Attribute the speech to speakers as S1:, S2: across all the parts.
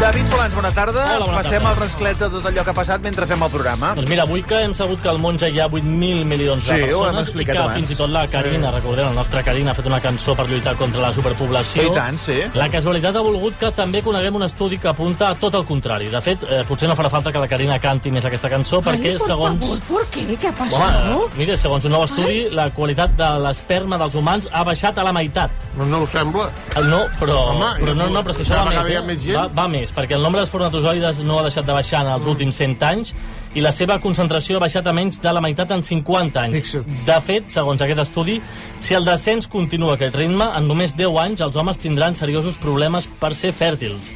S1: David Solans, bona tarda.
S2: Hola, bona
S1: Passem
S2: tarda.
S1: al rasclet de tot allò que ha passat mentre fem el programa.
S2: Doncs mira, avui que hem sabut que al món ja hi ha 8.000 milions de
S1: Sí, ho hem
S2: persones i
S1: explicat
S2: que
S1: abans.
S2: fins i tot la Carina, recordem, la nostra Carina ha fet una cançó per lluitar contra la superpoblació.
S1: I tant, sí.
S2: La casualitat ha volgut que també coneguem un estudi que apunta a tot el contrari. De fet, eh, potser no farà falta que la Carina canti més aquesta cançó perquè,
S3: Ay, por
S2: segons...
S3: favor, ¿por qué? ¿Qué ha
S2: Home,
S3: pasado?
S2: eh, mira, segons un nou estudi, la qualitat de l'esperma dels humans ha baixat a la meitat.
S4: No, no ho sembla.
S2: Eh, No, però,
S4: Home,
S2: però no, no, però és que això
S4: cada
S2: va
S4: vegada
S2: més,
S4: hi
S2: eh?
S4: ha més gent.
S2: va, va més, perquè el nombre de espermatozoides no ha deixat de baixar en els últims 100 anys i la seva concentració ha baixat a menys de la meitat en 50 anys.
S4: Fixa't.
S2: De fet, segons aquest estudi, si el descens continua a aquest ritme, en només 10 anys els homes tindran seriosos problemes per ser fèrtils.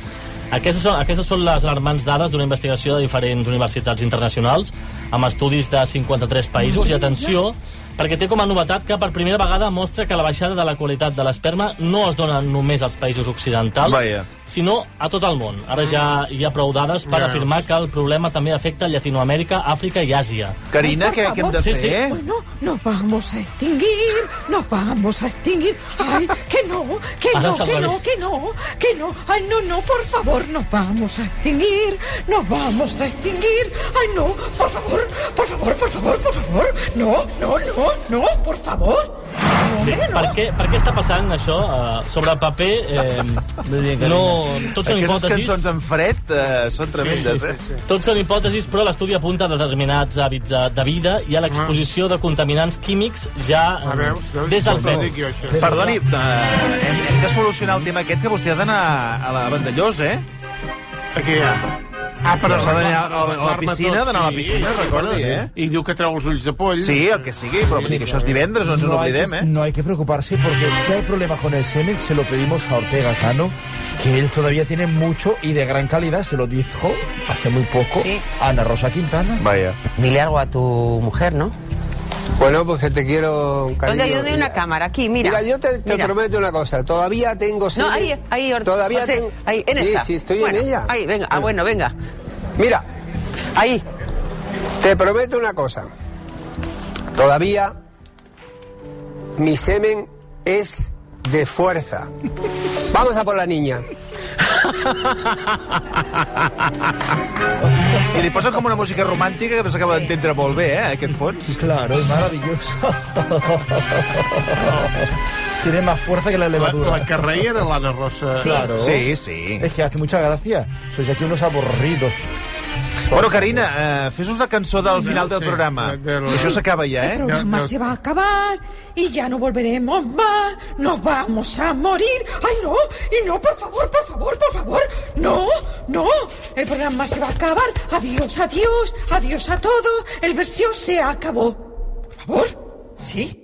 S2: Aquestes són, aquestes són les alarmants dades d'una investigació de diferents universitats internacionals amb estudis de 53 països. I atenció, perquè té com a novetat que per primera vegada mostra que la baixada de la qualitat de l'esperma no es dona només als països occidentals,
S1: Vaja.
S2: sinó a tot el món. Ara ja hi ha prou dades per
S4: Ja.
S2: afirmar que el problema també afecta Llatinoamèrica, Àfrica i Àsia.
S1: Carina,
S3: Por
S1: què, què hem de
S3: favor.
S2: Sí,
S1: fer?
S2: sí.
S3: Bueno, nos vamos a extinguir, nos vamos a extinguir. Ay, que no, que
S2: Ahora
S3: no,
S2: es al
S3: que no,
S2: revés.
S3: que no, que no. Ay, no, no, por favor, nos vamos a extinguir, nos vamos a extinguir. Ay, no, por favor, por favor, por favor, por favor. No, no, no, no, por favor. No,
S2: Sí,
S3: hombre, no.
S2: per, què, per què està passant això? Uh, sobre el paper, eh, no, tot
S1: Aquestes
S2: són hipòtesis.
S1: cançons en fred eh, són tremendes, eh?
S2: Tot són hipòtesis, però l'estudi apunta a determinats hàbits de, de vida i a l'exposició de contaminants químics ja
S4: A
S2: eh,
S4: veure, Ah, veus?
S2: des del
S4: No ho dic
S2: fem.
S4: jo, això.
S1: Perdoni, eh, hem, hem de solucionar el tema aquest que vostè ha d'anar a la Vandellós, eh?
S4: Aquí hi ha. Ah, però
S1: S'ha d'anar a la- a la
S4: arreglar-me
S1: piscina,
S4: tot,
S1: d'anar a la
S4: sí.
S1: piscina, recordi, eh?
S4: I diu que treu els ulls de poll.
S1: Sí, el que sigui, però vull dir que això és divendres, no ens
S5: No hay, que,
S1: n'oblidem, eh?
S5: no hay que preocuparse porque si hay problemas con el semen, se lo pedimos a Ortega Cano, que él todavía tiene mucho y de gran calidad, se lo dijo hace muy poco a Ana Rosa Quintana.
S1: Vaja.
S6: Dile algo a tu mujer, ¿no?
S7: Bueno, pues que te quiero, cariño.
S6: Oiga, yo doy una cámara aquí, mira.
S7: Mira, yo te, te
S6: Mira.
S7: prometo una cosa. Todavía tengo
S6: No,
S7: semen.
S6: ahí, ahí, Ortiz.
S7: Todavía
S6: José,
S7: tengo.
S6: ahí, en
S7: sí,
S6: esa.
S7: sí, estoy
S6: Bueno,
S7: en ella.
S6: Ahí, venga. Ah, bueno, venga.
S7: Mira,
S6: Ahí.
S7: te prometo una cosa. Todavía mi semen es de fuerza. Vamos a por la niña.
S1: I li posen com una música romàntica que no s'acaba d'entendre molt bé, eh, aquest fons.
S5: Claro, es maravilloso. tiene más fuerza que la
S4: La, la
S5: levadura.
S4: que reia era l'Anna Rosa.
S5: Claro.
S1: Sí, sí.
S5: Es que hace mucha gracia. Sois aquí unos aburridos.
S1: Bueno, Carina, eh, fes-nos la cançó del final del
S4: sí,
S1: programa.
S4: del-
S1: Això s'acaba ja,
S3: El
S1: eh?
S3: programa
S4: Ya, ya.
S3: se va a acabar y ya no volveremos más. Nos vamos a morir. Ay, no, y no, por favor, por favor, por favor. No, no. El programa se va a acabar. Adiós, adiós, adiós a todo. El versión se acabó. Por favor. Sí.